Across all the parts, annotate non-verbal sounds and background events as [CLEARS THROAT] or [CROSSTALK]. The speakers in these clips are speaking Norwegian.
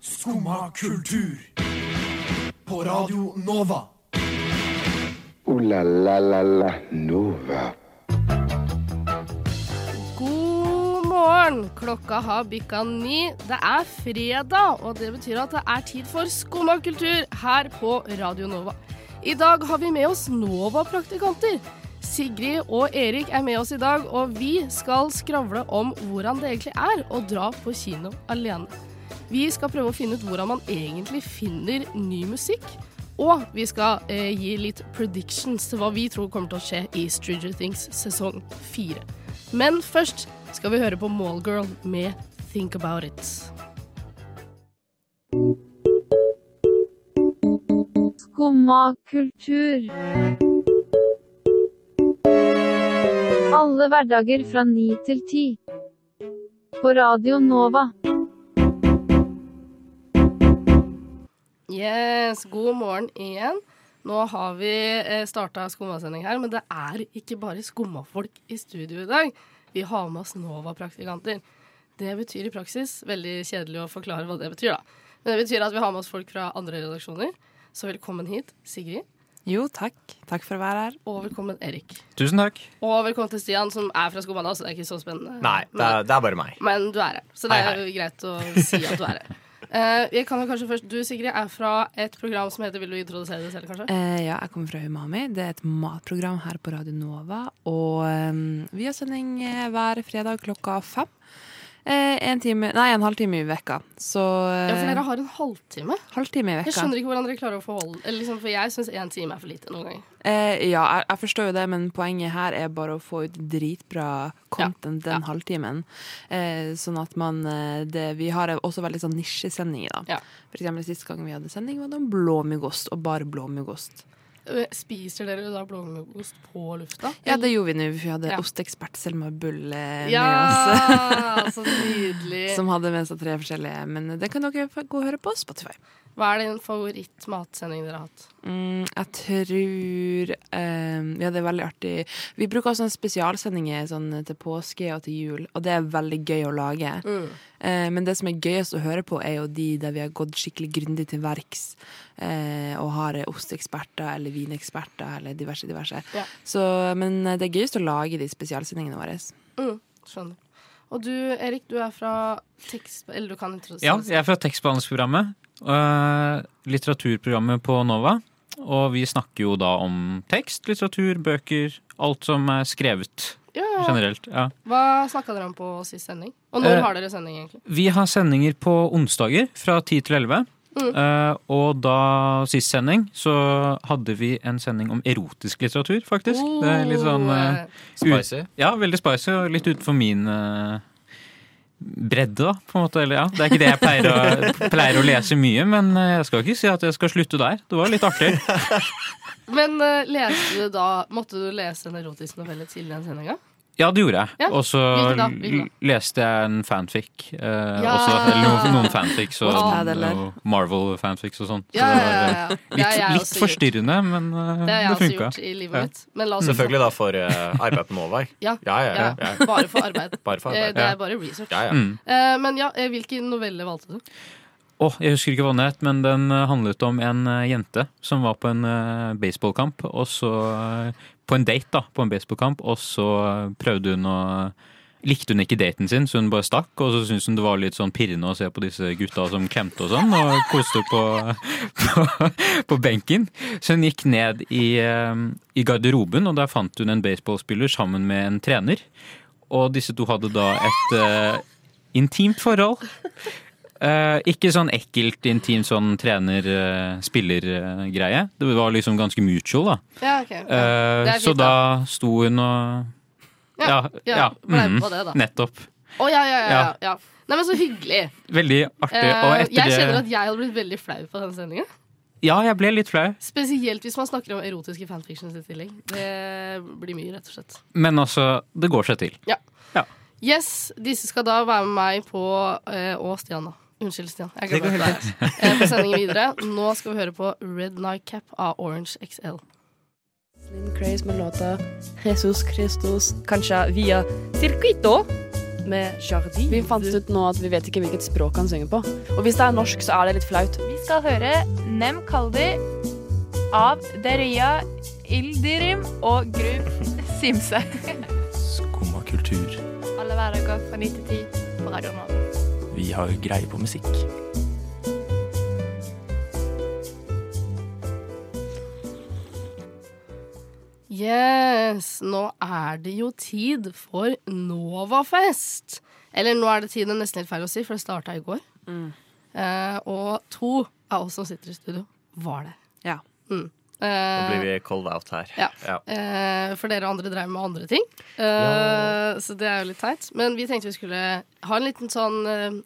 Skumma kultur. På Radio Nova. Ooh la la la la Nova. God morgen. Klokka har bikka ni. Det er fredag, og det betyr at det er tid for Skumma kultur her på Radio Nova. I dag har vi med oss Nova-praktikanter. Sigrid og Erik er med oss i dag, og vi skal skravle om hvordan det egentlig er å dra på kino alene. Vi skal prøve å finne ut hvordan man egentlig finner ny musikk. Og vi skal eh, gi litt predictions til hva vi tror kommer til å skje i Stranger Things sesong fire. Men først skal vi høre på Mallgirl med Think About It. Skumma kultur. Alle hverdager fra ni til ti. På Radio Nova. Yes, god morgen igjen. Nå har vi starta skummasending her, men det er ikke bare skummafolk i studio i dag. Vi har med oss Nova-praktikanter. Det betyr i praksis Veldig kjedelig å forklare hva det betyr, da. Men det betyr at vi har med oss folk fra andre redaksjoner. Så velkommen hit, Sigrid. Jo, takk. Takk for å være her. Og velkommen, Erik. Tusen takk. Og velkommen til Stian, som er fra Skumma, da, så det er ikke så spennende. Nei, det er, det er bare meg. Men du er her, så det Hei, er jo greit å si at du er [LAUGHS] her. Eh, jeg kan jo kanskje først, Du Sigrid er fra et program som heter Vil du introdusere deg selv, kanskje? Eh, ja, jeg kommer fra Umami. Det er et matprogram her på Radio Nova. Og eh, vi har sending eh, hver fredag klokka fem. Eh, en time, nei, en halvtime i vekka. Så eh, Ja, for dere har en halvtime. halvtime i Jeg vekka. skjønner ikke hvordan dere klarer å forholde eller liksom, For jeg syns én time er for lite noen ganger. Eh, ja, jeg, jeg forstår jo det, men poenget her er bare å få ut dritbra content den halvtimen. Eh, sånn at man eh, det, Vi har også veldig sånn nisjesendinger, da. Ja. For eksempel sist gang vi hadde sending, var det om blåmuggost, og bare blåmuggost. Eh, Spiser dere da blåmuggost på lufta? Ja, det gjorde vi nå. Vi hadde Mm. Ja. osteekspert Selma Bull eh, med oss. Ja, så nydelig. Som hadde med seg tre forskjellige. Men det kan dere få gå og høre på Spotify. Hva er din favorittmatsending dere har hatt? Mm, jeg tror eh, Ja, det er veldig artig. Vi bruker også en spesialsendinger sånn, til påske og til jul, og det er veldig gøy å lage. Mm. Eh, men det som er gøyest å høre på, er jo de der vi har gått skikkelig grundig til verks. Eh, og har eh, osteeksperter eller vineksperter eller diverse, diverse. Ja. Så, men eh, det er gøyest å lage de spesialsendingene våre. Mm, skjønner. Og du Erik, du er fra tekst... Eller du kan introdusere Ja, deg selv. jeg er fra tekstbehandlingsprogrammet. eh, litteraturprogrammet på Nova. Og vi snakker jo da om tekst, litteratur, bøker. Alt som er skrevet Ja, ja. generelt. Ja. Hva snakka dere om på sist sending? Og når Eh, har dere sending, egentlig? Vi har sendinger på onsdager fra 10 til 11. Mm. Eh, og da sist sending så hadde vi en sending om erotisk litteratur, faktisk. Det er litt sånn eh, Oh, Spicy. Ja, veldig spicy og litt utenfor min eh, bredde, da, på en måte. Eller, ja. Det er ikke det jeg pleier å, [LAUGHS] pleier å lese mye, men eh, jeg skal ikke si at jeg skal slutte der. Det var litt artig. Men eh, leste du da Måtte du lese en erotisk novelle til den sendinga? Ja, det gjorde jeg. Ja, Og så hvilken da? Hvilken da? l- leste jeg en fanfic. eh, Ja. også, eller noen, noen fanfics og sånn, Wattpad, eller? og Marvel-fanfics og sånn. Så Ja, ja, det var, eh, ja, ja. Det har Litt, jeg litt også gjort. forstyrrende, men eh, Det har jeg det også funka. gjort i livet Ja. mitt. Men la oss Selvfølgelig da for eh, arbeid på Nova. Ja. Ja, ja, ja, Mhm. Ja, ja. bare for arbeid. Bare [LAUGHS] for Eh, arbeid. Det Ja, er bare research. ja. ja. Mm. Eh, Men ja, eh, hvilken novelle valgte du? Åh, jeg husker ikke hva den het, men den eh, handlet om en eh, jente som var på en eh, baseballkamp, og så eh, På en date, da, på en baseballkamp, og så eh, prøvde hun å Likte hun ikke daten sin, så hun bare stakk, og så syntes hun det var litt sånn pirrende å se på disse gutta som klemte og sånn, og koste på, [LAUGHS] på, på benken. Så hun gikk ned i, eh, i garderoben, og der fant hun en baseballspiller sammen med en trener. Og disse to hadde da et eh, intimt forhold. Eh, ikke sånn ekkelt, intimt sånn trener-spiller-greie. det var liksom ganske mutual, da. Ja, ok. Eh, Det er så fint, da sto hun og Ja. ja, ja, blei mm, på det, da. Nettopp. Å, ja, ja, ja, ja, ja. Nei, men så hyggelig. Veldig artig. Eh, og etter jeg kjenner det at jeg hadde blitt veldig flau på den sendinga. Ja, jeg ble litt flau. Spesielt hvis man snakker om erotiske fanfictions i tillegg. Det blir mye, rett og slett. Men altså, det går seg til. Yes, disse skal da være med meg på eh, Og Stian, da. Unnskyld, Stian. Jeg glemmer at du er her. Eh, På sendingen videre. Nå skal vi høre på Red Night Cap av Orange XL. Lynn Craze med låta Jesus Christus, kanskje via Circuito. med Jardin. Vi fant ut nå at vi vet ikke hvilket språk han synger på. Og hvis det er norsk, så er det litt flaut. Vi skal høre Nem Kaldi av Deria Ildirim og Grub Simse. Skumma kultur. Alle hverdager fra 9 til 10 på Radio Nova. Vi har greie på musikk. Yes, nå er det jo tid for Novafest. Eller nå er det tid, det er nesten helt feil å si, for det starta i går. Eh, og to av oss som sitter i studio, var det. Ja. Mm. Nå Eh, blir vi called out her. Ja. Ja. eh, for dere andre drev med andre ting. Eh, Så det er jo litt teit. Men vi tenkte vi skulle ha en liten sånn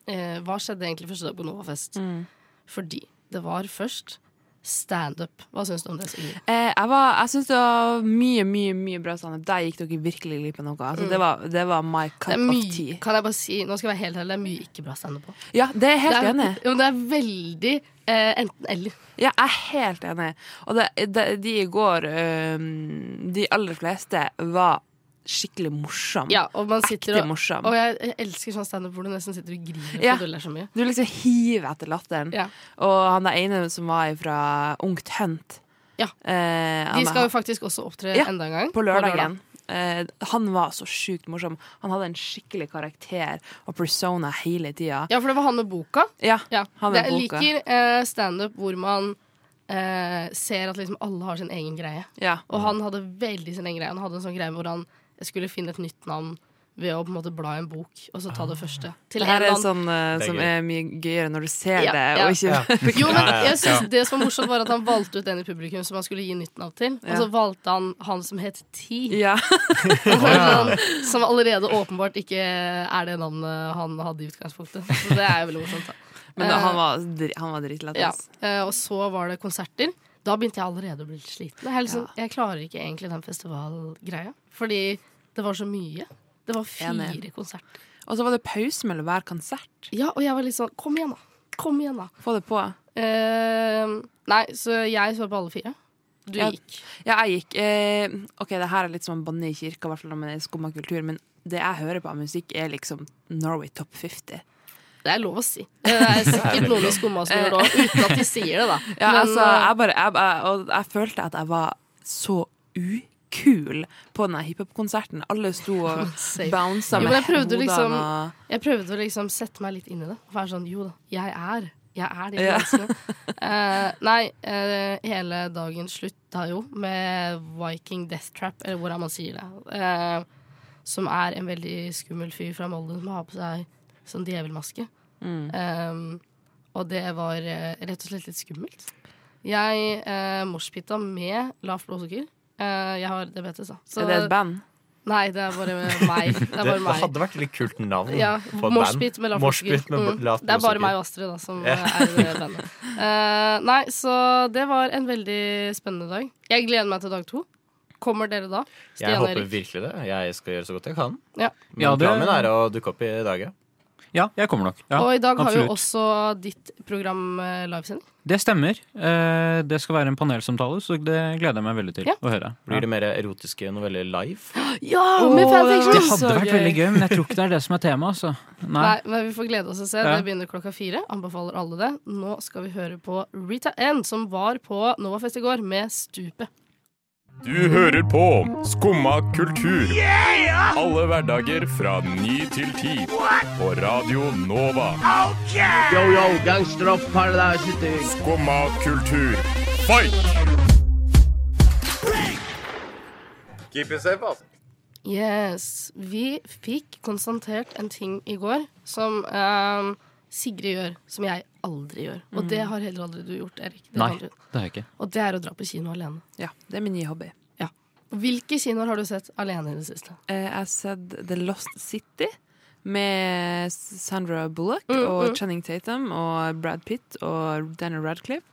eh, eh, Hva skjedde egentlig første dag på Novafest? Mm. Fordi det var først standup. Hva syns du om det? Sigrid? Eh, jeg var- jeg syns det var mye, mye mye bra standup. Der gikk dere virkelig glipp av noe. Altså, det, var, det var Mm. my Det cup er of mye, tea. kan jeg bare si, nå skal jeg være helt ærlig, det er mye ikke bra standup på. Ja, det er jeg helt det er, enig. Jo, det er veldig eh, enten-eller. Ja, jeg er helt enig. Og det, det, de i går, øhm, de aller fleste, var skikkelig morsomme. Ja, og man sitter Ekte og, morsom. og jeg, jeg elsker sånn standup hvor du nesten sitter og griner Ja. for du ler så mye. Du liksom hiver etter latteren. Ja. Og han der ene som var fra Ungt Hunt Ja. eh, han De er- skal jo faktisk også opptre Ja, enda en gang. På lørdagen. Eh, han var så sjukt morsom. Han hadde en skikkelig karakter og persona hele tida. Ja, for det var han med boka. Ja, Ja. han det, med jeg boka. liker eh, standup hvor man eh, ser at liksom alle har sin egen greie. Ja. Og han hadde veldig sin egen greie. Han hadde en sånn greie hvor han skulle finne et nytt navn ved å på en måte bla i en bok, og så ta Ah. det første. Til en Det her er eller annen. sånn eh, Det er som gøy. er mye gøyere når du ser Ja, det, ja. og ikke Jo, men Ja, ja, jeg synes Det som var morsomt, var at han valgte ut den i publikum som han skulle gi nytt navn til. Og Ja. så valgte han han som het Ti. [LAUGHS] Ja. [LAUGHS] Sånn, som allerede åpenbart ikke er det navnet han hadde i utgangspunktet. Så det er jo veldig morsomt. Da. Men da, han var, dri- han var dritlættis. Eh, Ja. eh, Og så var det konserter. Da begynte jeg allerede å bli litt sliten. Jeg, er liksom, jeg klarer ikke egentlig den festivalgreia, fordi det var så mye. Det var fire Enig. konserter. Og så var det pause mellom hver konsert. Ja, og jeg var litt sånn Kom igjen, da. Kom igjen, da. Få det på. Eh, nei, så jeg så på alle fire. Du Ja. gikk. Ja, jeg gikk eh, Ok, det her er litt som å banne i kirka, i hvert fall når man er i skumma kultur, men det jeg hører på av musikk, er liksom Norway Top 50. Det er lov å si. Det er sikkert noen i skumma som gjør det òg, uten at de sier det, da. Ja, Men, altså, jeg bare jeg, jeg, Og jeg følte at jeg var så ukul på den her hiphop-konserten. Alle [LAUGHS] sto og Safe. bounsa Jo, med men jeg prøvde hodene liksom- og Jeg prøvde å liksom sette meg litt inn i det. Og være sånn, jo da, jeg er. Jeg er de Ja. [LAUGHS] menneskene. Eh, nei, eh, hele dagen slutta jo med Viking Death Trap, eller hvordan man sier det. eh, som er en veldig skummel fyr fra Molde som har på seg sånn djevelmaske. Mm. Eh, og det var eh, rett og slett litt skummelt. Jeg uh, moshpita med lavt blodsukker. Eh, jeg har diabetes, da. Så- Er det et band? Nei, det er bare meg. Det Det, er [LAUGHS] bare det meg. hadde vært et litt kult navn Ja, på et band. Moshpit med lavt Moshpit blodsukker. med Mm. lavt Det er bare blodsukker. meg og Astrid da, som eh, er i det [LAUGHS] bandet. Eh, nei, så det var en veldig spennende dag. Jeg gleder meg til dag to. Kommer dere da? Stian Jeg håper Erik. virkelig det. Jeg skal gjøre så godt jeg kan. Ja. Men Ja, det- planen min er å dukke opp i dag, ja. Ja, jeg kommer nok. Ja, og i dag har vi absolutt. jo også ditt program eh, livesending. Det stemmer. Eh, Det skal være en panelsamtale, så det gleder jeg meg veldig til Ja. å høre. Blir det mer erotiske noveller live? Ja, med fanfiction! Det hadde vært veldig gøy, men jeg tror ikke det er det som er tema. Altså. Nei. Nei, men vi får glede oss å se. Ja. Det begynner klokka fire. Anbefaler alle det. Nå skal vi høre på Rita N, som var på Novafest i går med Stupet. Du hører på Skumma kultur. Alle hverdager fra ny til ti. På Radio Nova. Yo, yo, gangster of paradise. Skumma kultur. Fight! Yes. Vi fikk konstatert en ting i går som eh, Sigrid gjør, som jeg aldri gjør. Og Mm. det har heller aldri du gjort, Erik. Det Nei, kan du. det har jeg ikke. Og det er å dra på kino alene. Ja, det er min nye hobby. Hvilke kinoer har du sett alene i det [LAUGHS] siste? Eh, Jeg har sett The Lost City med Sandra Bullock Mm, og Channing Tatum og Brad Pitt og Daniel Radcliffe.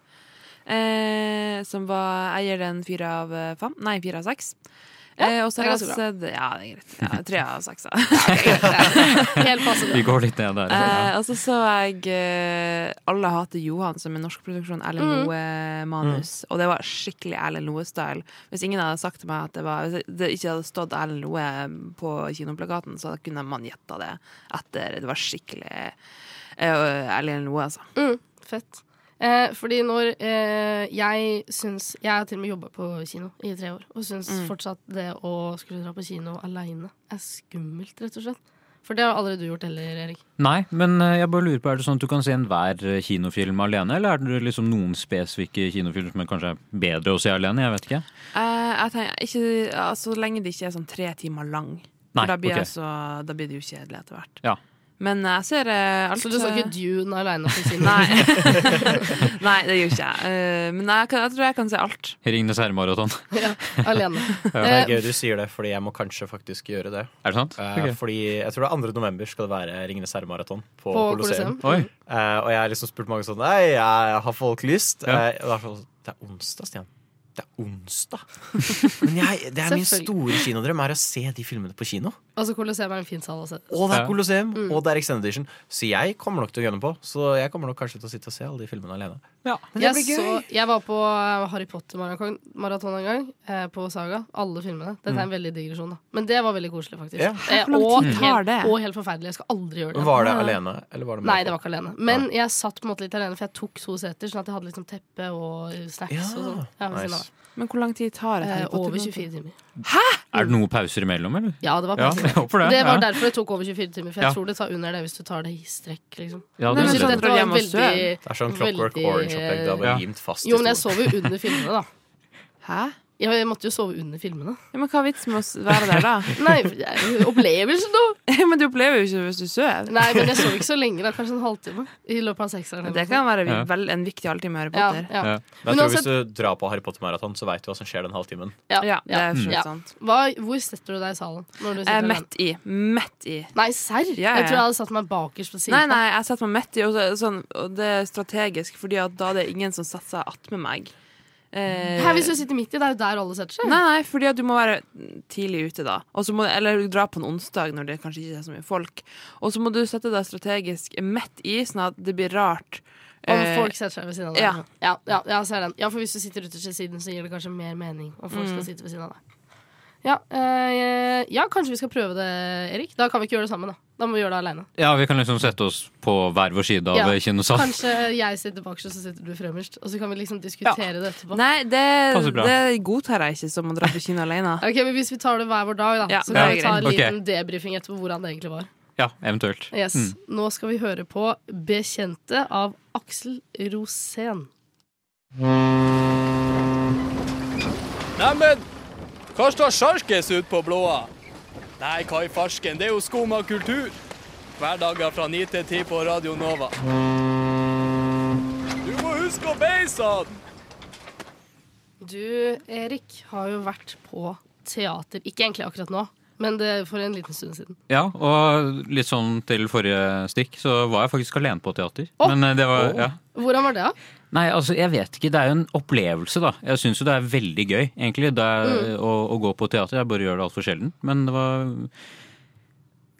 Eh, som var Jeg gir den fire av eh, fem. Nei, fire av seks. Eh, og så det er har jeg ganske sett Ja, det er greit. Ja, tre av seks. da. [LAUGHS] Helt passe bra. Vi går litt ned der. Eh, og så så jeg eh, Alle hater Johan, som er norsk produksjon, Erlend Mm. Loe-manus. Og det var skikkelig Erlend Loe-style. Hvis ingen hadde sagt til meg at det var Hvis det ikke hadde stått Erlend Loe på kinoplakaten, så kunne man gjetta det etter. Det var skikkelig eh, Erlend Loe, altså. Mm, fett. Eh, fordi når eh, jeg syns Jeg har til og med jobba på kino i tre år, og syns Mm. fortsatt det å skulle dra på kino aleine er skummelt, rett og slett. For det har aldri du gjort heller, Erik. Nei, men eh, jeg bare lurer på, er det sånn at du kan se enhver eh, kinofilm alene, eller er det liksom noen spesifikke kinofilmer som er kanskje bedre å se alene? Jeg vet ikke. Eh, jeg tenker, ikke, ja, så lenge det ikke er sånn tre timer lang. Nei, For da blir, ok. jeg så- da blir det jo kjedelig etter hvert. Ja. Men jeg ser eh, alt Så du så ikke Dune aleine på [LAUGHS] kino? Nei. Nei, det gjør ikke jeg. Eh, men jeg, kan, jeg tror jeg kan se alt. Ringenes herre-maraton. [LAUGHS] ja, alene. Det er Eh, gøy du sier det, fordi jeg må kanskje faktisk gjøre det. Er det sant? Eh, Ok. Fordi jeg tror det er 2. november skal det være Ringenes herre-maraton på, På Colosseum. Colosseum. Oi. Eh, og jeg har liksom spurt mange sånn Nei, jeg har folk lyst? Ja. Eh, og det er sånn, det er onsdag, Stian. Det er onsdag. Men jeg, det er min Selvfølgelig. store kinodrøm er å se de filmene på kino. altså, Colosseum er en fin sal å se. Og det Ja. er Colosseum, Mm. og det er Extended Edition. Så jeg kommer nok til å gønne på. Så jeg kommer nok kanskje til å sitte og se alle de filmene alene. Men det Jeg, blir så, gøy. jeg var på eh, Harry Potter-maraton en gang, eh, på Saga. Alle filmene. Dette er en veldig digresjon, da. Men det var veldig koselig, faktisk. Ja. Eh, lang og, tid tar helt, det? og helt forferdelig. Jeg skal aldri gjøre det. Men Var det alene, eller var det med Nei, det folk? var ikke alene. Men jeg satt på en måte litt alene, for jeg tok to seter, sånn at jeg hadde liksom teppe og snacks Ja, og sånn. Ja, ved siden av nice. meg. Men hvor lang tid tar et Eh, Harry over Potter-maraton? 24 timer. Er det noen pauser imellom, eller? Ja, det var Ja, faktisk jeg håper det. det var ja. derfor det tok over 24 timer, for jeg Ja. tror det tar under det hvis du tar det i strekk, liksom. Ja, Jeg Nei, men det synes synes så- jeg. dette var Jeg må veldig, søv. Det er sånn Clockwork veldig- Orange-opplegg. Det er bare Ja. limt fast Jo, men jeg stolen. sov jo under filmene, da. Hæ? Jeg måtte jo sove under filmene. Ja, men hva er vitsen med å s- være der, [LAUGHS] da? Nei, jeg- opplevelsen, da! men du opplever jo ikke hvis du sover. Nei, men jeg sov ikke så lenge, da. Kanskje en halvtime i løpet av sekseren. Men eller Det kan være vi- Ja. vel, en viktig halvtime med Harry noe. Potter. ja, ja. Ja. Men jeg Men tror Hvis du drar på Harry Potter-maraton, så veit du hva som skjer den halvtimen. Ja, Ja, det ja. er fortsatt sant. Hva, hvor setter du deg i salen? Når du Jeg sitter er alene? mett i. Mett i. Nei, serr? Ja, ja, Jeg tror jeg ja. hadde satt meg bakerst på siden. Nei, nei, jeg setter meg midt i, og, så, sånn, og det er strategisk, Fordi at da er det ingen som setter seg attmed meg. Eh, Her, hvis du sitter midt i, det er jo der alle setter seg. Nei, nei, fordi at du må være tidlig ute da Og så må, Eller du drar på en onsdag når det kanskje ikke er så mye folk Og så må du sette deg strategisk midt i Sånn at det blir rart Om Eh, folk setter seg ved siden av deg. ja. Ja, ja, jeg ser den. Ja, for hvis du sitter ytterst ved siden, så gir det kanskje mer mening om folk Mm. skal sitte ved siden av deg. Ja, eh, ja, kanskje vi skal prøve det, Erik. Da kan vi ikke gjøre det sammen, da. Da må vi gjøre det aleine. Ja, vi kan liksom sette oss på hver vår side av Ja. eh, kinosalen. Kanskje jeg sitter bakerst, og så sitter du fremst. Og så kan vi liksom diskutere det etterpå. Nei, det, Passer bra. det godtar jeg ikke som å dra på kino [LAUGHS] alene Ok, men Hvis vi tar det hver vår dag, da, Ja, så kan det er vi ta en greit. liten debrifing etterpå hvordan det egentlig var. Ja, eventuelt. Yes. Mm. Nå skal vi høre på 'Bekjente' av Aksel Rosén. Neimen, hva står sjarkes ut på blåa? Nei, hva i farsken, det er jo skum av kultur. Hverdager fra 9 til 10 på Radio Nova. Du må huske å beise den! Du, Erik, har jo vært på teater. Ikke egentlig akkurat nå, men det for en liten stund siden. Ja, og litt sånn til forrige stikk, så var jeg faktisk alene på teater. Å! Men eh, det var ja. Hvordan var det, da? Nei, altså, jeg vet ikke. Det er jo en opplevelse, da. Jeg syns jo det er veldig gøy, egentlig, det er, Mm. å, å gå på teater. Jeg bare gjør det altfor sjelden. Men det var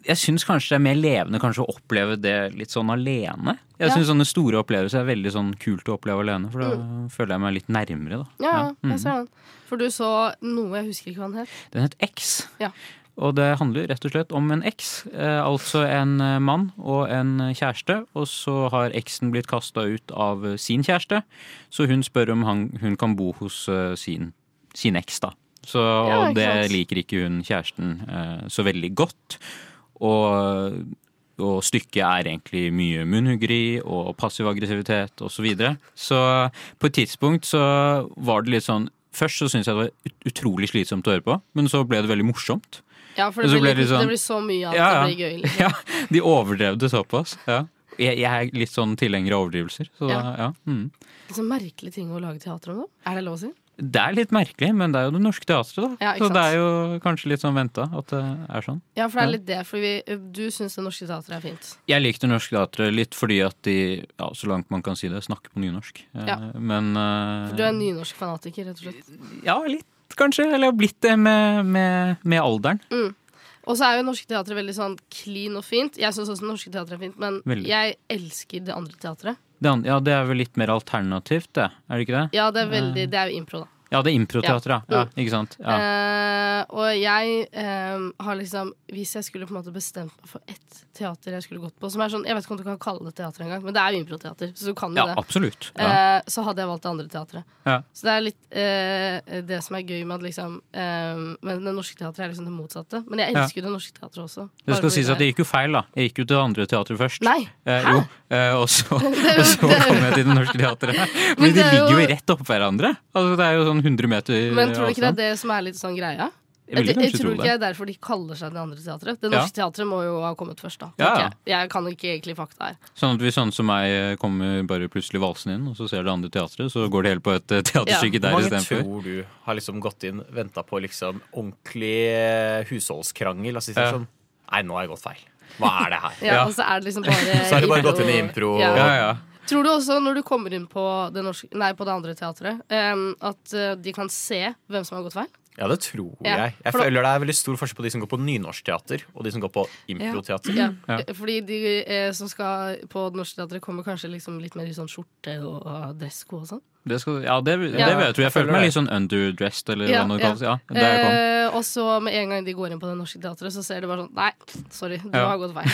Jeg syns kanskje det er mer levende kanskje å oppleve det litt sånn alene. Jeg Ja. syns sånne store opplevelser er veldig sånn kult å oppleve alene, for da føler jeg meg litt nærmere, da. Mm. Ja, ja, Mm. jeg ser den. For du så noe jeg husker ikke hva den het. Den het X. Ja. Og det handler rett og slett om en X. Eh, altså en eh, mann og en kjæreste. Og så har X-en blitt kasta ut av eh, sin kjæreste, så hun spør om han, hun kan bo hos eh, sin, sin X, da. Så, Ja, ikke og det sant. liker ikke hun kjæresten eh, så veldig godt. Og, og stykket er egentlig mye munnhuggeri og passiv aggressivitet osv. Så, videre. så på et tidspunkt så var det litt sånn Først så syntes jeg det var ut- utrolig slitsomt å høre på, men så ble det veldig morsomt. Ja, for Men det blir, så ble det litt- sånn- det blir så mye at Ja, ja. det blir gøy. Liksom. [LAUGHS] Ja, De overdrev det såpass. Ja. Jeg, jeg er litt sånn tilhenger av overdrivelser. Så da, ja. Mm. Så merkelige ting å lage teater om, da. Er det lov å si? Det er litt merkelig, men det er jo det norske teatret, da. Ja, ikke så det sant. er jo kanskje litt sånn venta at det er sånn. Ja, for det er Ja. litt det. For vi, du syns det norske teatret er fint. Jeg likte norsk teater litt fordi at de, ja, så langt man kan si det, snakker på nynorsk. Eh, Ja. Men eh, For du er en nynorsk fanatiker, rett og slett. Ja, litt. kanskje. Eller har blitt det med, med, med alderen. Mm. Og så er jo norske teatre veldig sånn clean og fint. Jeg syns også norske teatre er fint, men Veldig. jeg elsker det andre teatret. Det an- ja, det er vel litt mer alternativt, det. Er det ikke det? Ja, det er veldig Det er jo impro, da. Ja, det er improteater, ja. ja. Mm. Ikke sant. Ja. Eh, og jeg eh, har liksom Hvis jeg skulle på en måte bestemt meg for ett teater jeg skulle gått på Som er sånn, Jeg vet ikke om du kan kalle det teater engang, men det er jo improteater. Så du kan jo Ja, det. absolutt. Eh, så hadde jeg valgt det andre teatret. Ja. Så det er litt eh, det som er gøy med at liksom eh, Men det norske teatret er liksom det motsatte. Men jeg Ja. elsker jo det norske teatret også. Det Bare skal fordi sies at det gikk jo feil, da. Jeg gikk jo til det andre teatret først. Nei, Eh, jo, eh, og så, [LAUGHS] Det er jo- [LAUGHS] og så det er jo- kom jeg til Det Norske Teatret. Men, Men de det er ligger jo- jo rett oppå hverandre. Altså, det er jo sånn 100 meter Men tror du ikke det avstand. er det som er litt sånn greia? Jeg ville kanskje tror tro ikke det. det er derfor de kaller seg Det andre teatret. Det Ja. norske teatret må jo ha kommet først, da. Ja, tenker ja. Jeg. jeg kan ikke egentlig fakta her. Sånn at hvis sånne som meg eh, kommer bare plutselig valsende inn, og så ser det andre teatret, så går det hele på et eh, teaterstykke der Hvor mange istedenfor. tror du har liksom gått inn, venta på liksom ordentlig eh, husholdskrangel, og så sier Ja. sånn Nei, nå har jeg gått feil. Hva er det her? [LAUGHS] Ja, Og så er det [LAUGHS] liksom bare Så er det bare gått inn i impro. Ja. og- Tror du også, når du kommer inn på det, norske, nei, på det andre teatret, em, at eh, de kan se hvem som har gått feil? Ja, det tror Ja, jeg. Jeg for da- føler det er veldig stor forskjell på de som går på nynorskteater, og de som går på improteater. Ja. Ja. Fordi de eh, som skal på Det norske teatret, kommer kanskje liksom litt mer i sånn skjorte og, og dressko og sånn. Det skal, ja, det, det Ja. vil jeg tro. Jeg følte føler meg det. litt sånn underdressed, eller Ja, hva det ja. kalles. Ja, der jeg kom. Eh, og så med en gang de går inn på Det norske teatret, så ser de bare sånn Nei, sorry, du Ja. har gått feil.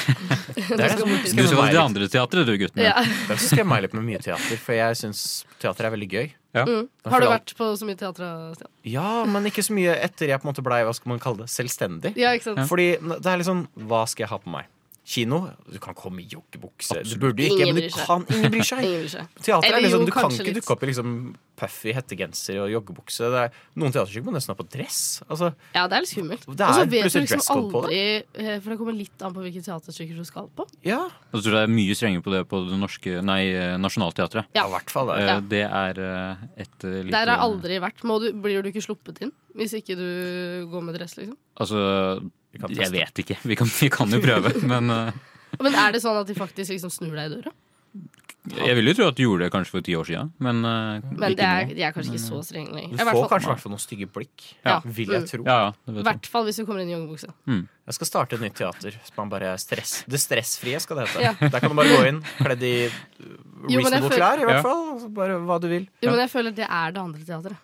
Du Det er skal liksom som- bort dit. Du skal til det andre teatret, du, gutten. Ja. Det er skremmer meg litt med mye teater, for jeg syns teater er veldig gøy. Mm. Jeg Har du føler alt- vært på så mye teater, Stian? Ja, men ikke så mye etter jeg på en måte blei hva skal man kalle det, selvstendig. Ja, ikke sant? Ja. Fordi det er litt sånn Hva skal jeg ha på meg? Kino? Du kan komme i joggebukse. Du burde ikke, Ingen men bryr du seg. kan Ingen bryr seg. Ingen bryr seg. Teater er Eller liksom, jo, Du kan kanskje ikke litt. dukke opp i liksom puffy hettegenser og joggebukse. Det er, noen teaterstykker må nesten ha på dress. Altså, Ja, det er litt skummelt. Og Det er så vet du plutselig liksom dresscode på aldri eh, For det kommer litt an på hvilke teaterstykker du skal på. ja. Og så tror jeg det er mye strengere på det på det norske, nei, eh, Nationaltheatret. Ja. Ja, i hvert fall, ja. Eh, Ja. Det er eh, et eh, lite Der har jeg aldri vært. Må du, blir du ikke sluppet inn hvis ikke du går med dress, liksom? Altså, jeg teste. vet ikke. Vi kan, vi kan jo [LAUGHS] prøve, men eh, Men er det sånn at de faktisk liksom snur deg i døra? jeg vil jo tro at du gjorde det kanskje for ti år siden. Men, eh, Men ikke det er, nå. de er kanskje Men, ikke så strenge Du lenger. I hvert får fall- kanskje i hvert fall noen stygge blikk, Ja. vil jeg Mm. tro. Ja, ja, det I vet jeg. hvert fall hvis du kommer inn i joggebukse. Mm. Jeg skal starte et nytt teater. som man bare er stress, det stressfrie skal det hete. Ja. Der kan du bare gå inn, kledd i uh, Jo, men jeg reasonable føler- klær, i Ja. hvert fall. Bare hva du vil. Jo, men jeg føler det er det andre teatret.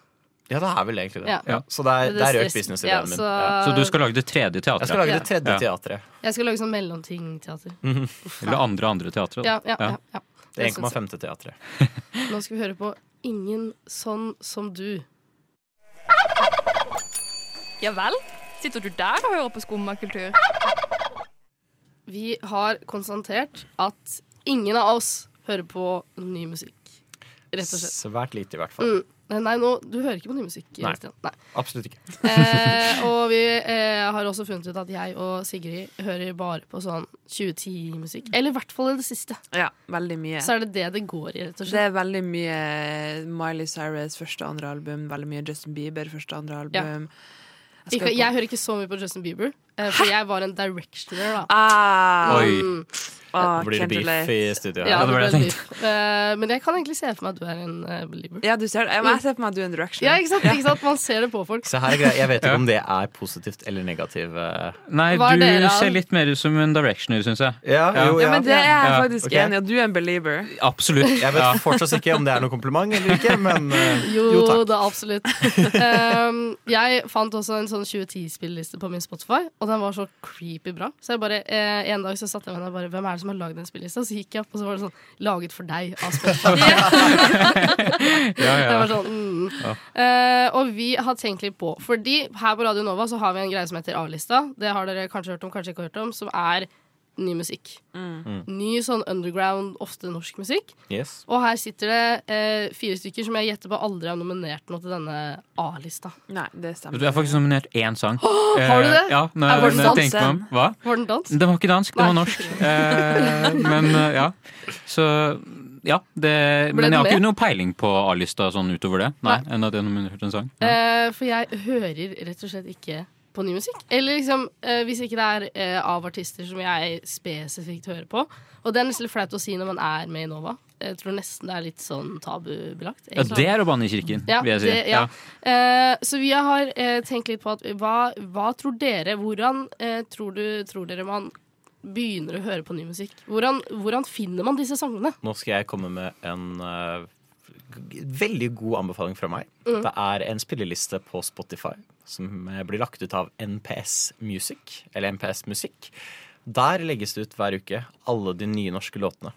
Ja, det er vel egentlig det. Ja. Ja. Så der, Det der røk stress- businessideen ja, min. så- Ja. Så du skal lage det tredje Jeg teatret? skal lage det Ja. tredje Ja. teatret. Jeg skal lage sånn mellomting-teater. Uff, Eller da. andre andre teatret? da. Ja, ja, ja, ja. Det Det synes jeg. 1,5. teatret. Nå skal vi høre på Ingen sånn som du. Ja vel? Sitter du der og hører på skummakultur? Vi har konstatert at ingen av oss hører på ny musikk. Rett og slett. Svært lite, i hvert fall. Mm. Nei, nå, du hører ikke på ny musikk. Nei. Stian. Nei. Absolutt ikke. Eh, og vi eh, har også funnet ut at jeg og Sigrid hører bare på sånn 2010-musikk. Eller i hvert fall i det siste. Ja, veldig mye. Så er det det det går i, rett og Det slett. er veldig mye Miley Cyrus første og andre album, veldig mye Justin Bieber første og andre album. skal Ikke, på- jeg hører ikke så mye på Justin Bieber, eh, for jeg var en directioner, da. Ah, Oi. Mm. ah, Blir det can't beef relate. i studio her? Ja, det var ble det jeg litt. Eh, men jeg kan egentlig se for meg at du er en eh, belieber. Ja, du ser det. Jeg, jeg ser på meg at du er en direction. Ja, ikke sant? Ikke sant? Man ser det på folk. Se her er greia. Jeg vet ikke om det er positivt eller negativt. eh. Nei, Hva er du dere av- ser litt mer ut som en directioner, syns jeg. Ja, jo, Ja, men det er jeg Ja. faktisk Ok. enig i, og du er en belieber. Absolutt. Jeg vet fortsatt ikke om det er noen kompliment eller ikke, men eh, Jo, jo takk. da, absolutt. Ehm, jeg fant også en sånn 2010-spilleliste på min Spotify, og den var så creepy bra. Så jeg bare, eh, En dag så satt jeg meg ned og bare Hvem er det som har lagd den spillelista? Så gikk jeg opp, og så var det sånn Laget for deg av Spotify. [LAUGHS] Ja, Jeg ja. var sånn, mm. Eh, og vi har tenkt litt på Fordi her på Radio Nova så har vi en greie som heter A-lista. Det har dere kanskje hørt om, kanskje ikke hørt om, som er ny musikk. Mm. Ny sånn underground, ofte norsk musikk. Yes. Og her sitter det eh, fire stykker som jeg gjetter på aldri har nominert noe til denne A-lista. Nei, det stemmer. Du er faktisk nominert én sang. [GASPS] har du det? Eh, Ja, når, Er det når jeg dansk? tenker meg om. Hva? Var den dans? Den var ikke dansk, den var Nei. norsk. [LAUGHS] Eh, men eh, ja. Så ja. Det, Ble men jeg den har ikke med? noe peiling på A-lista sånn utover det. Nei, Nei. enn at jeg nominerte en sang. Eh, for jeg hører rett og slett ikke på ny musikk. Eller liksom, eh, hvis ikke det er eh, av artister som jeg spesifikt hører på. Og det er nesten litt flaut å si når man er med i Nova. Jeg tror nesten det er litt sånn tabubelagt. Ja, det er å banne i kirken, Ja, vil jeg si. det- ja. Eh, så vi har eh, tenkt litt på at hva, hva tror dere Hvordan eh, tror, du, tror dere man begynner å høre på ny musikk? Hvordan, hvordan finner man disse sangene? Nå skal jeg komme med en eh, g- veldig god anbefaling fra meg. Mm. Det er en spilleliste på Spotify som eh, blir lagt ut av NPS Music, eller NPS Musikk. Der legges det ut hver uke alle de nye norske låtene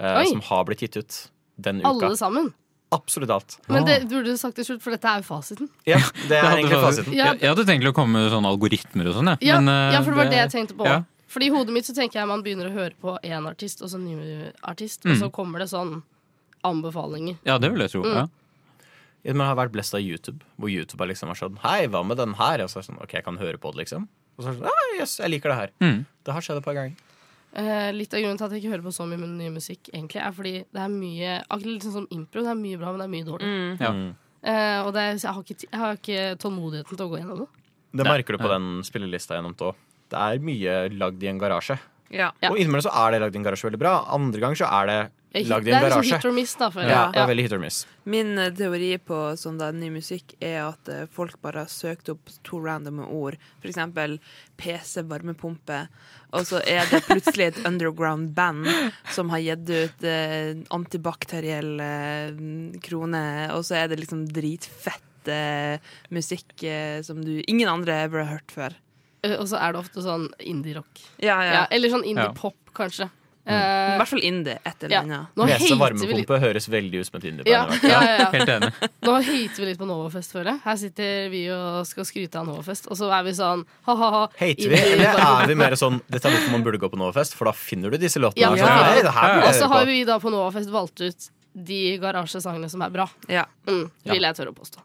eh, Oi. som har blitt gitt ut den uka. Alle sammen. Absolutt alt. Men det burde du sagt til slutt, for dette er jo fasiten. [LAUGHS] Ja, det Jeg er hadde egentlig fa- fasiten. Ja. Jeg, jeg hadde tenkt å komme med sånne algoritmer og sånn, jeg. Ja, Men, eh, ja, for det var det jeg tenkte på. ja. Fordi I hodet mitt så tenker jeg man begynner å høre på én artist, og så ny artist, og Mm. så kommer det sånn anbefalinger. Ja, det vil jeg tro. Mm. Ja. Ja, men jeg har vært blest av YouTube, hvor YouTube har liksom vært sånn Hei, hva med den her? Og så er det sånn, OK, jeg kan høre på det, liksom. Og så er det sånn, «Ah, Jøss, jeg liker det her. Det har skjedd et par ganger. Eh, litt av grunnen til at jeg ikke hører på så mye ny musikk, egentlig, er fordi det er mye Akkurat litt sånn som impro. Det er mye bra, men det er mye dårlig. Ja. Eh, og det, er- så jeg, har ikke, ti- jeg har ikke tålmodigheten til å gå gjennom det. Det merker du på den spillelista jeg nevnte òg. Det er mye lagd i en garasje. Ja. Og innimellom så er det lagd i en garasje veldig bra. Andre ganger så er det Hit- lagd det i en er liksom garasje. hit or miss, da, føler ja, jeg. det Ja. er veldig hit or miss. Min eh, teori på sånn da, ny musikk er at eh, folk bare har søkt opp to randome ord. For eksempel PC varmepumpe. Og så er det plutselig et underground band som har gitt ut eh, antibakteriell eh, krone, og så er det liksom dritfett eh, musikk eh, som du ingen andre burde ha hørt før. Eh, Og så er det ofte sånn indie-rock. Ja, ja. eller sånn Ja. indie-pop, kanskje. I hvert fall indie, et eller eh, ja. annet. Nå Nese hater vi litt- varmepumpe høres veldig ut som et indieband. Ja, i hvert fall. [LAUGHS] ja, ja, Helt enig. Nå hater vi litt på Novafest, føler jeg. Her sitter vi og skal skryte av Novafest, og så er vi sånn ha-ha-ha. Hater vi, eller er vi mer sånn Dette er hvorfor man burde gå på Novafest, for da finner du disse låtene. Ja, her, sånn, «Hei, det her burde Og jeg så høre har på». vi da på Novafest valgt ut de garasjesangene som er bra. Mm, Ja. vil jeg tørre å påstå.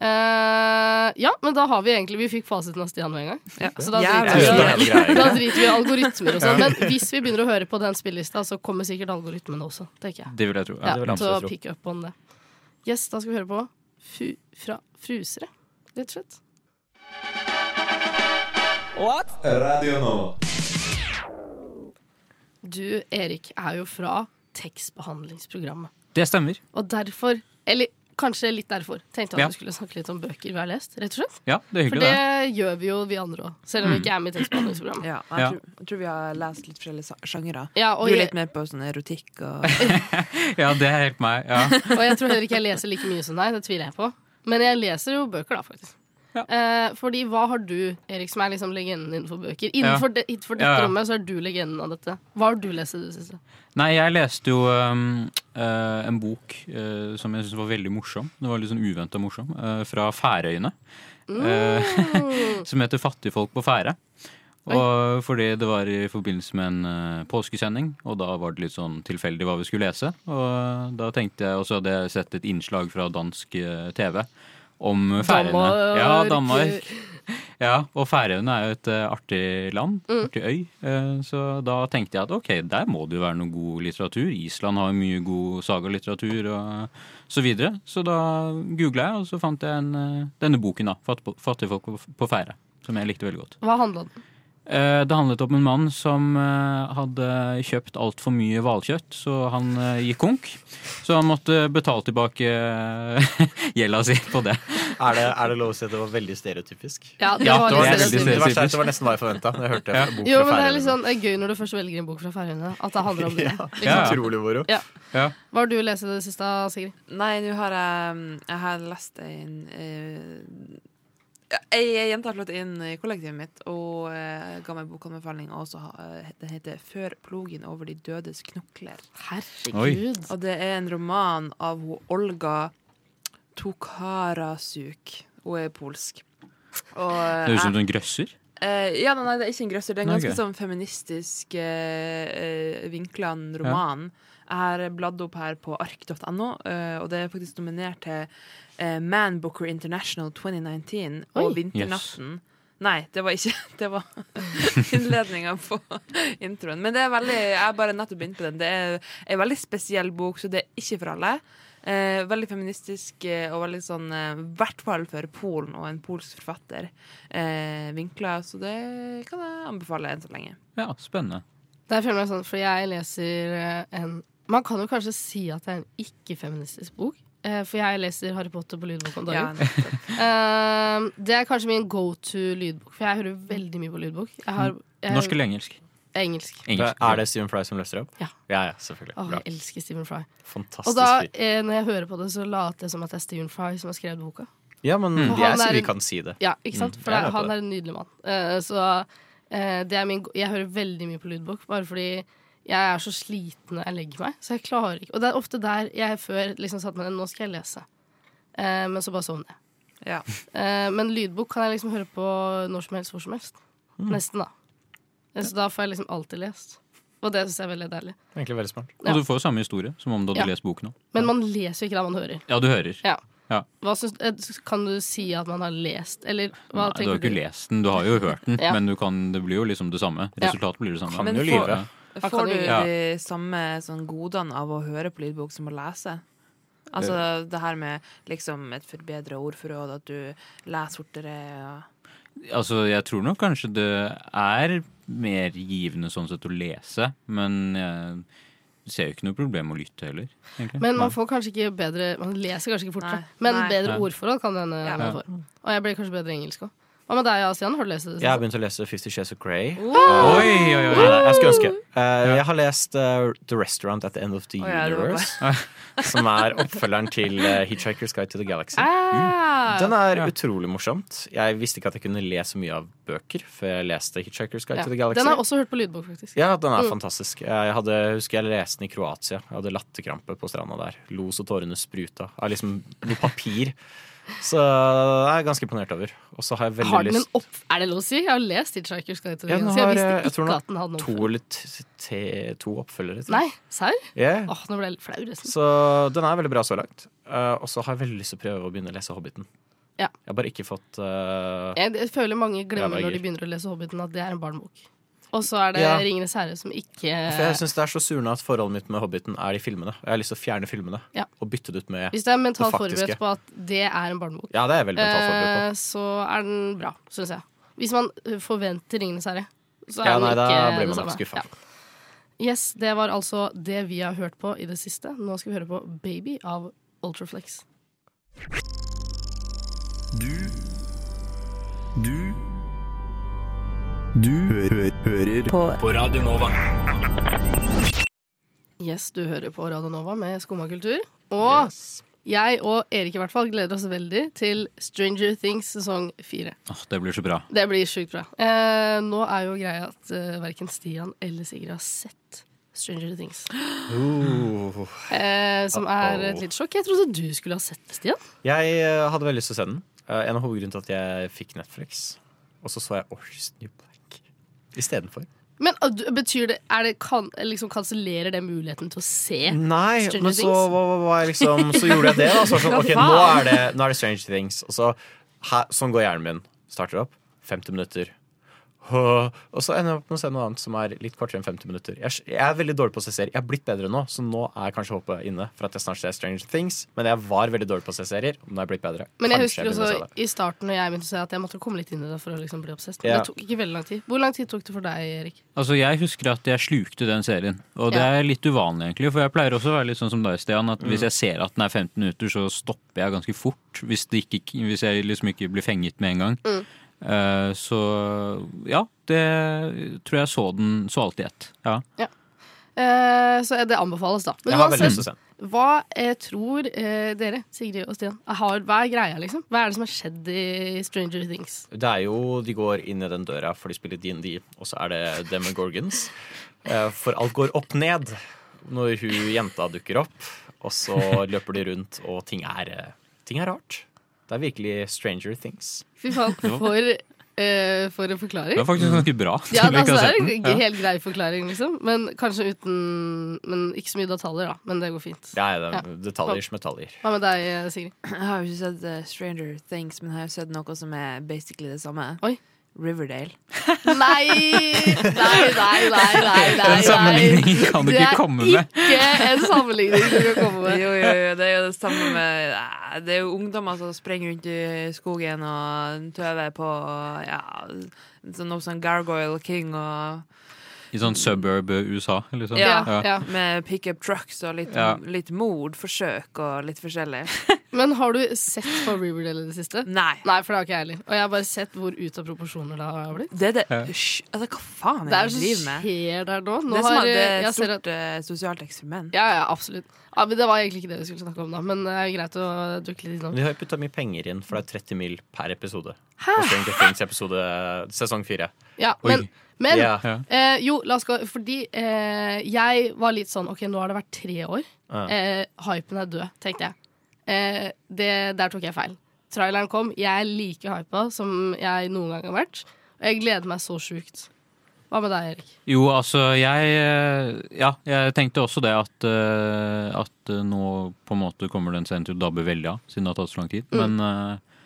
Eh, ja, men da har vi egentlig Vi fikk fasiten av Stian med en gang. Så da Jævlig. driter, vi, Jævlig. da driter vi i algoritmer og sånn. Ja. Men hvis vi begynner å høre på den spillelista, så kommer sikkert algoritmene også, tenker jeg. Det vil jeg tro. Ja, Ja, det vil jeg så absolutt tro. pick up on det. Yes, da skal vi høre på Fu fra Frusere, rett og slett. What? Radio Nova. Du, Erik, er jo fra tekstbehandlingsprogrammet. Det stemmer. Og derfor, eller kanskje litt derfor, tenkte jeg at Ja. vi skulle snakke litt om bøker vi har lest. rett og slett. Ja, det er For hyggelig, det. det gjør vi jo, vi andre òg. Selv om vi Mm. ikke er med i tekstbehandlingsprogrammet. Ja, og jeg, Tror, jeg tror vi har lest litt forskjellige sa- sjangere. Ja, og du er jeg- litt mer på sånn erotikk og Ja, det er helt meg. Ja. Og jeg tror heller ikke jeg leser like mye som deg, det tviler jeg på. Men jeg leser jo bøker, da, faktisk. Eh, fordi hva har du, Erik, som er liksom legenden innenfor bøker? Innenfor, Ja. de, innenfor dette Ja, ja. rommet så er du legenden av dette. Hva har du lest i det siste? Nei, jeg leste jo um, eh, en bok eh, som jeg syntes var veldig morsom. Det var litt sånn uventa morsom. eh, fra Færøyene. eh, Mm. som heter 'Fattigfolk på Fære'. Og fordi det var i forbindelse med en eh, påskesending, og da var det litt sånn tilfeldig hva vi skulle lese. Og da tenkte jeg, og så hadde jeg sett et innslag fra dansk eh, TV om Færøyene. Ja, Danmark. Ja, og Færøyene er jo et eh, artig land, artig øy. eh, så da tenkte jeg at ok, der må det jo være noe god litteratur. Island har jo mye god sagalitteratur og så videre. Så da googla jeg, og så fant jeg en, eh, denne boken, da. Fatt- 'Fattigfolk på- på Færøy', som jeg likte veldig godt. Hva handla den om? Eh, Det handlet om en mann som eh, hadde kjøpt altfor mye hvalkjøtt, så han eh, gikk konk. Så han måtte betale tilbake eh, [LAUGHS] gjelda si på det. Er det, er det lov å si at det var veldig stereotypisk? Ja, det var litt stereotypisk. nesten- Det, verste er at det var nesten hva jeg forventa. Jeg hørte Ja. bok Jo, fra men det er litt Færøyene. sånn eh, gøy når du først velger en bok fra Færøyene, at det [LAUGHS] handler om det. Liksom. Ja. Utrolig moro. Ja. Ja. Hva har du lest i det siste, Sigrid? Nei, nå har jeg um, Jeg har lest en eh, Ei ei jente har slått inn i kollektivet mitt og eh, ga meg bokanbefaling. Og så har- eh, den heter 'Før plogen over de dødes knokler'. Herregud. Og det er en roman av ho, Olga Tokarasuk. Hun er polsk. Og, eh, Det høres ut som jeg- en grøsser. Eh, ja, nei, nei, det er ikke en grøsser. Det er en Nei, ganske ok. sånn feministisk uh, vinkla roman. Jeg har bladd opp her på ark.no, eh, og det er faktisk nominert til eh, Man Booker International 2019 og Oi. Vinternatten. Nei, det var ikke [LAUGHS] Det var innledninga på [LAUGHS] introen. Men det er veldig, jeg er bare nettopp begynt på den. Det er en veldig spesiell bok, så det er ikke for alle. Eh, Eh, veldig feministisk eh, og veldig sånn eh, I hvert fall for Polen og en polsk forfatter. Eh, vinkler, så det kan jeg anbefale enn så lenge. Ja, spennende. Det føler jeg meg sånn, for jeg leser eh, en Man kan jo kanskje si at det er en ikke-feministisk bok. eh, For jeg leser Harry Potter på lydbok om dagen. Eh, det er kanskje min go to lydbok, for jeg hører veldig mye på lydbok. Jeg har, jeg, Mm. Norsk eller engelsk? Engelsk. Er det Stephen Fry som løser opp? Ja. ja, selvfølgelig. Åh, Bra. jeg elsker Stephen Fry. Fantastisk Og da, fyr. eh, når jeg hører på det, så later jeg som at det er Stephen Fry som har skrevet boka. Ja, men For Mm. jeg han sier er vi en- kan si det. Ja, ikke sant? Mm, For jeg det, er med på han det. er en nydelig mann. Eh, så eh, det er min go- Jeg hører veldig mye på lydbok, bare fordi jeg er så sliten når jeg legger meg. Så jeg klarer ikke Og det er ofte der jeg før liksom satt meg ned Nå skal jeg lese. Eh, men så bare sovner jeg. Eh, men lydbok kan jeg liksom høre på når som helst, hvor som helst. Mm. Nesten, da. Eh, Så da får jeg liksom alltid lest. Og det syns jeg er veldig deilig. Egentlig veldig smart. Ja. Og du får jo samme historie som om du hadde Ja. lest boken òg. Men man leser jo ikke det man hører. Ja, du hører. Ja. Ja. Hva syns, eh, kan du si at man har lest, eller hva Du har tenker jo ikke lest den, du har jo hørt den, Ja. men du kan, det blir jo liksom det samme. Ja. Resultatet blir det samme. Men Ja. Får, kan får du jo- Ja. de samme sånn, godene av å høre på lydbok som å lese? Altså Eh. det her med liksom et forbedra ordforråd, at du leser fortere. Og [CLEARS THROAT] Altså, jeg tror nok kanskje det er mer givende sånn sett å lese, men jeg ser jo ikke noe problem med å lytte heller. egentlig. Men man Nei. får kanskje ikke bedre Man leser kanskje ikke fortere, Nei. men Nei. bedre Nei. ordforråd kan det hende Ja. man får. Og jeg blir kanskje bedre i engelsk òg. Hva med deg, Asian? Har du lest det? Jeg har begynt å lese Fifty Shades of Grey. Oi, oi, oi. Nei, nei, jeg skulle ønske. Eh, jeg har lest eh, The Restaurant at the End of the Å, ja, det var Universe, [LAUGHS] som er oppfølgeren til eh, Hitchhiker's Guide to the Galaxy. Ah! Mm. Den er utrolig morsomt. Jeg visste ikke at jeg kunne le så mye av bøker før jeg leste Hitchhiker's Guide Ja. to the Den Galaxy. har jeg også hørt på lydbok, faktisk. Ja, den er Mm. fantastisk. Eh, Jeg hadde, husker jeg leste den i Kroatia. Jeg hadde latterkrampe på stranda der. Lo så tårene spruta av liksom noe papir. Så jeg er ganske imponert over. Og så har jeg veldig Har den lyst en opp... Er det lov å si? Jeg har lest Hitchhiker's Guide to the Ja, den Galaxy. Jeg har, visste eh, ikke jeg tror den har at den hadde to noen eller t- t- to oppfølgere. tror jeg. Nei, Ah. serr? Ja. Åh, nå ble jeg litt flau, nesten. Så den er veldig bra så langt. Eh, og så har jeg veldig lyst til å prøve å begynne å lese Hobbiten. Ja. Jeg har bare ikke fått eh, Jeg jeg føler mange glemmer Ja, det er når de gøy. begynner å lese Hobbiten, at det er en barnebok. Og så er det Ja. Ringenes herre som ikke For jeg syns det er så surna at forholdet mitt med Hobbiten er de filmene. Og jeg har lyst til å fjerne filmene Ja. og bytte det ut med Hvis du er mentalt det faktiske. forberedt på at det er en barnebok, Ja, det er jeg veldig mentalt forberedt på. eh, så er den bra, syns jeg. Hvis man eh, forventer Ringenes herre, så er Ja, den nei, ikke da det blir man nok samme. skuffa. Yes, det var altså det vi har hørt på i det siste. Nå skal vi høre på Baby av Ultraflex. Du Du Du hø hø hører På- på Radio Nova. Yes, du hører på Radio Nova med Skumma kultur. Og jeg og Erik i hvert fall gleder oss veldig til Stranger Things sesong fire. Åh, det blir så bra. Det blir sjukt bra. Eh, nå er jo greia at eh, verken Stian eller Sigrid har sett Stranger Things. Eh, som er et Uh-oh. litt sjokk. Jeg trodde du skulle ha sett det, Stian. Jeg eh, hadde veldig lyst til å se den. Eh, en av hovedgrunnene til at jeg fikk Netflix. Og så så jeg Orange is the New Black istedenfor. Men eh, du- betyr det, er det kan, liksom Kansellerer det muligheten til å se Nei, Stranger men så, Things? var, var, var jeg liksom, så gjorde jeg det. Da. Så var jeg sånn, Hva ok, faen? nå er det, nå er det Strange Things. Og så, her, sånn går hjernen min. Starter opp. 50 minutter. Hå, Og så ender jeg opp med å se noe annet som er litt kortere enn 50 minutter. Jeg, jeg er veldig dårlig på å se serier. Jeg er blitt bedre nå, så nå er kanskje håpet inne for at jeg snart ser Strange Things. Men jeg var veldig dårlig på å se serier. Nå er jeg blitt bedre. Men jeg Kanskje husker begynner å se også det. i starten når jeg begynte å se at jeg måtte komme litt inn i det for å liksom bli obsessed. Men Ja. Det tok ikke veldig lang tid. Hvor lang tid tok det for deg, Erik? Altså, Jeg husker at jeg slukte den serien, og det Ja. er litt uvanlig, egentlig. For jeg pleier også å være litt sånn som deg, Stian, at hvis jeg ser at den er 15 minutter, så stopper jeg ganske fort. Hvis, det ikke, hvis jeg liksom ikke blir fenget med en gang. Mm. Eh, så ja, det tror jeg så den så alt i ett. Ja. Eh, så det anbefales, da. Men Jeg har veldig uansett, lyst til å se hva eh, tror eh, dere, Sigrid og Stian, har, hva er greia, liksom? Hva er det som har skjedd i Stranger Things? Det er jo De går inn i den døra, for de spiller DND, og så er det Demogorgons. Eh, For alt går opp ned når hun jenta dukker opp, og så løper de rundt, og ting er, eh, ting er rart. Det er virkelig Stranger Things. Fy faen, Jo. for, eh, for en forklaring. Det var faktisk ganske bra. Ja, [LAUGHS] til å altså, ikke det ha er sett den. en g- helt grei forklaring, liksom. Men kanskje uten Men ikke så mye detaljer, da. Men det går fint. Ja, ja, det er Ja. detaljer som detaljer. Hva med deg, eh, Sigrid? Jeg har jo ikke sett eh, Stranger Things, men jeg har jo sett noe som er basically det samme. Riverdale. Nei, nei, nei, nei, nei, nei. Den sammenligningen kan du Det ikke er komme med. Ikke en sammenligning du kan komme med. Jo, jo, jo, det er jo det samme med eh, Det er jo ungdommer som springer rundt i skogen og tøver på ja, sånn, noe sånn Gargoyle King og I sånn suburb eh, USA, liksom. ja, Med pickup trucks og litt, Ja. litt mordforsøk og litt forskjellig. Men har du sett på Riverdale i det siste? Nei. Nei, for det har ikke jeg heller. Og jeg har bare sett hvor ut av proporsjoner det har blitt. Det er det Hysj, altså, hva faen Det er er jo det du som driver med? skjer der nå. nå det er som har, at det eh, er jeg et ser at- stort eh, sosialt eksperiment. Ja, ja, absolutt. Ja, men det var egentlig ikke det vi skulle snakke om, da. Men det er greit å dukke litt innom. De har putta mye penger inn, for det er 30 mil per episode. Og Stranger Things episode sesong fire. Ja, Oi. men, men Ja. eh, jo, la oss gå Fordi eh, jeg var litt sånn Ok, nå har det vært tre år. Ja. Eh, hypen er død, tenkte jeg. Eh, det, der tok jeg feil. Traileren kom. Jeg er like hypa som jeg noen gang har vært. Og jeg gleder meg så sjukt. Hva med deg, Erik? Jo, altså, jeg eh, Ja, jeg tenkte også det at, eh, at eh, nå på en måte kommer den scenen til å dabbe veldig av, siden det har tatt så lang tid. Mm. Men eh,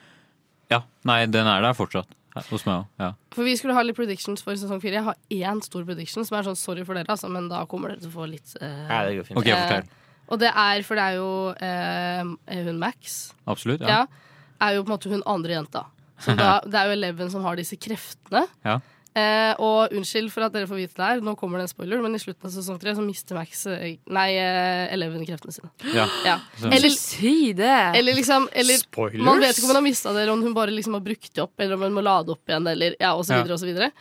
ja. Nei, den er der fortsatt. Her, hos meg òg. Ja. For vi skulle ha litt predictions for sesong fire. Jeg har én stor prediction som er sånn sorry for dere, altså, men da kommer dere til å få litt eh, Ja, det går fint. Ok, fortell. eh, Og det er, for det er jo eh, hun Max. Absolutt. Ja. Ja. Er jo på en måte hun andre jenta. Som da, det er jo Eleven som har disse kreftene. ja. Eh, og unnskyld for at dere får vite det her, nå kommer det en spoiler, men i slutten av sesong tre så mister Max eh, Nei, eh, Eleven kreftene sine. Ja. Så- si det! Eller liksom eller, Spoilers? Man vet ikke om hun har mista det, eller om hun bare liksom har brukt det opp, eller om hun må lade opp igjen, eller ja, og så Ja. videre, og så videre.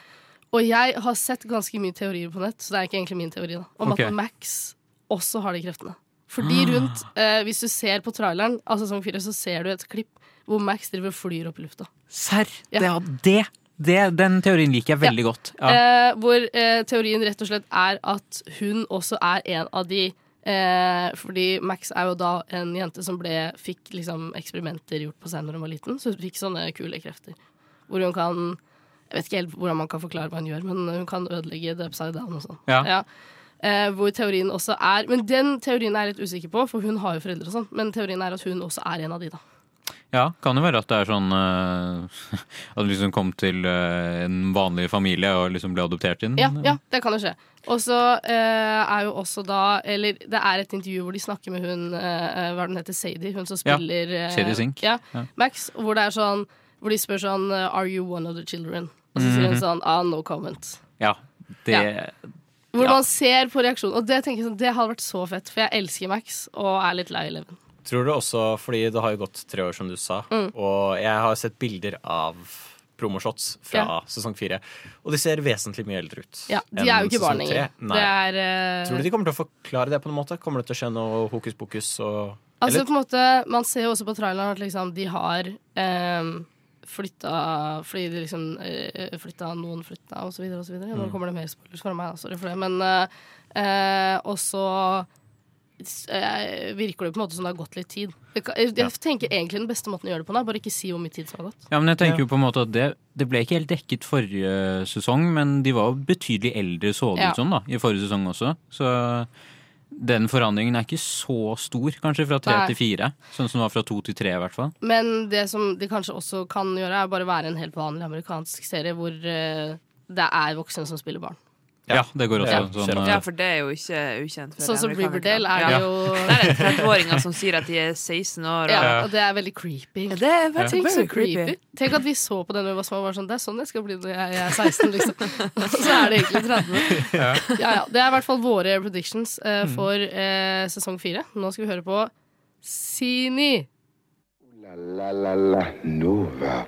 Og jeg har sett ganske mye teorier på nett, så det er ikke egentlig min teori, da, om Ok. Ah. at Max også har de kreftene. Fordi rundt, eh, hvis du ser på traileren av sesong fire, så ser du et klipp hvor Max driver og flyr opp i lufta. Serr? Ja. Det, ja, det, det, den teorien liker jeg veldig godt. Ja. Eh, hvor eh, teorien rett og slett er at hun også er en av de eh, Fordi Max er jo da en jente som ble, fikk liksom eksperimenter gjort på seg når hun var liten, så hun fikk sånne kule krefter. Hvor hun kan Jeg vet ikke helt hvordan man kan forklare hva hun gjør, men hun kan ødelegge the upside down og sånn. Ja. Eh, hvor teorien også er Men den teorien er jeg litt usikker på, for hun har jo foreldre og sånn. Men teorien er at hun også er en av de, da. ja, kan det være at det er sånn eh, [LAUGHS] At du liksom kom til eh, en vanlig familie og liksom ble adoptert inn? Mm, Ja, ja det kan jo skje. Og så eh, er jo også da Eller det er et intervju hvor de snakker med hun eh, Hva er det hun heter? Sadie? Hun som Ja, spiller eh, Sadie Sink. Ja, Ja. Max. Hvor det er sånn Hvor de spør sånn eh, Are you one of the children? Og så sier hun Mhm. sånn Ah, no comment. Ja, det Hvor Ja. man ser på reaksjonen. Og det tenker jeg sånn Det hadde vært så fett, for jeg elsker Max og er litt lei Eleven. Tror du også, fordi det har jo gått tre år, som du sa, Mm. og jeg har sett bilder av promoshots fra Ja. sesong fire, og de ser vesentlig mye eldre ut. Ja, de enn er jo ikke barn sesong lenger. tre. Nei. Det er eh, Tror du de kommer til å forklare det på noen måte? Kommer det til å skje noe hokus pokus? Og... Altså Eller- på en måte, Man ser jo også på traileren at liksom de har eh, flytta Fordi de liksom eh, flytta noen flytta, og så videre og så videre. Nå Mm. kommer det mer spoilers fra meg, da, sorry for det. Men eh, eh, også eh, virker det på en måte som det har gått litt tid. Det kan- Jeg, jeg Ja. tenker egentlig den beste måten å gjøre det på nå, er bare ikke si hvor mye tid som har gått. Ja, men jeg tenker jo på en måte at det, det ble ikke helt dekket forrige sesong, men de var jo betydelig eldre så det Ja. ut som da, i forrige sesong også. Så den forandringen er ikke så stor, kanskje fra tre Nei. til fire. Sånn som det var fra to til tre, i hvert fall. Men det som de kanskje også kan gjøre, er bare være en helt vanlig amerikansk serie hvor eh, det er voksne som spiller barn. Ja, det går også sånn. eh, Ja, for det er jo ikke ukjent. for Sånn som amerikanere. Riverdale er Ja. jo- [LAUGHS] Der er det 30-åringer som sier at de er 16 år. Ja, og det er veldig creepy. Ja, det er veldig, Tenk så very creepy. Tenk at vi så på den da vi var små og var sånn Det er sånn jeg skal bli når jeg jeg er 16, liksom. Og så er det egentlig 30. Ja. Ja, ja. Det er i hvert fall våre predictions eh, for eh, sesong fire. Nå skal vi høre på Sini. La la la Nova.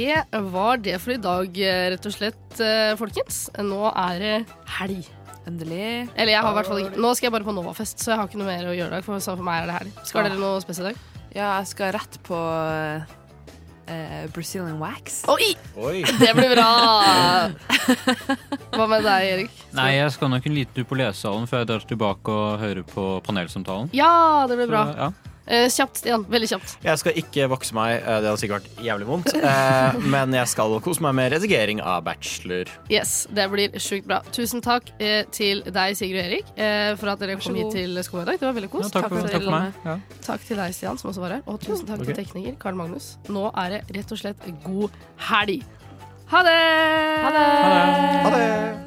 Det var det for i dag, eh, rett og slett, eh, folkens. Nå er det helg. Endelig. Eller jeg har i hvert fall ikke Nå skal jeg bare på Novafest, så jeg har ikke noe mer å gjøre i dag. For, så for meg er det helg. Skal dere noe spes i dag? Ja, jeg skal rett på eh, Brazilian wax. Oi! Det blir bra! [LAUGHS] Hva med deg, Erik? Nei, jeg skal nok en liten tur på lesesalen før jeg drar tilbake og hører på panelsamtalen. Ja, det blir bra. Så, ja. Eh, kjapt, Stian. Veldig kjapt. Jeg skal ikke vokse meg, eh, det hadde sikkert vært jævlig vondt. eh, Men jeg skal kose meg med redigering av bachelor. Yes, det blir sjukt bra. Tusen takk eh, til deg, Sigrid og Erik, eh, for at dere Vær så kom hit god. til skolen i dag. Det var veldig kos. Ja, takk for- takk for meg. Ja. Takk til deg, Stian, som også var her. Og tusen takk Ok. til tekniker Karl Magnus. Nå er det rett og slett god helg. Ha det! Ha det! Ha det!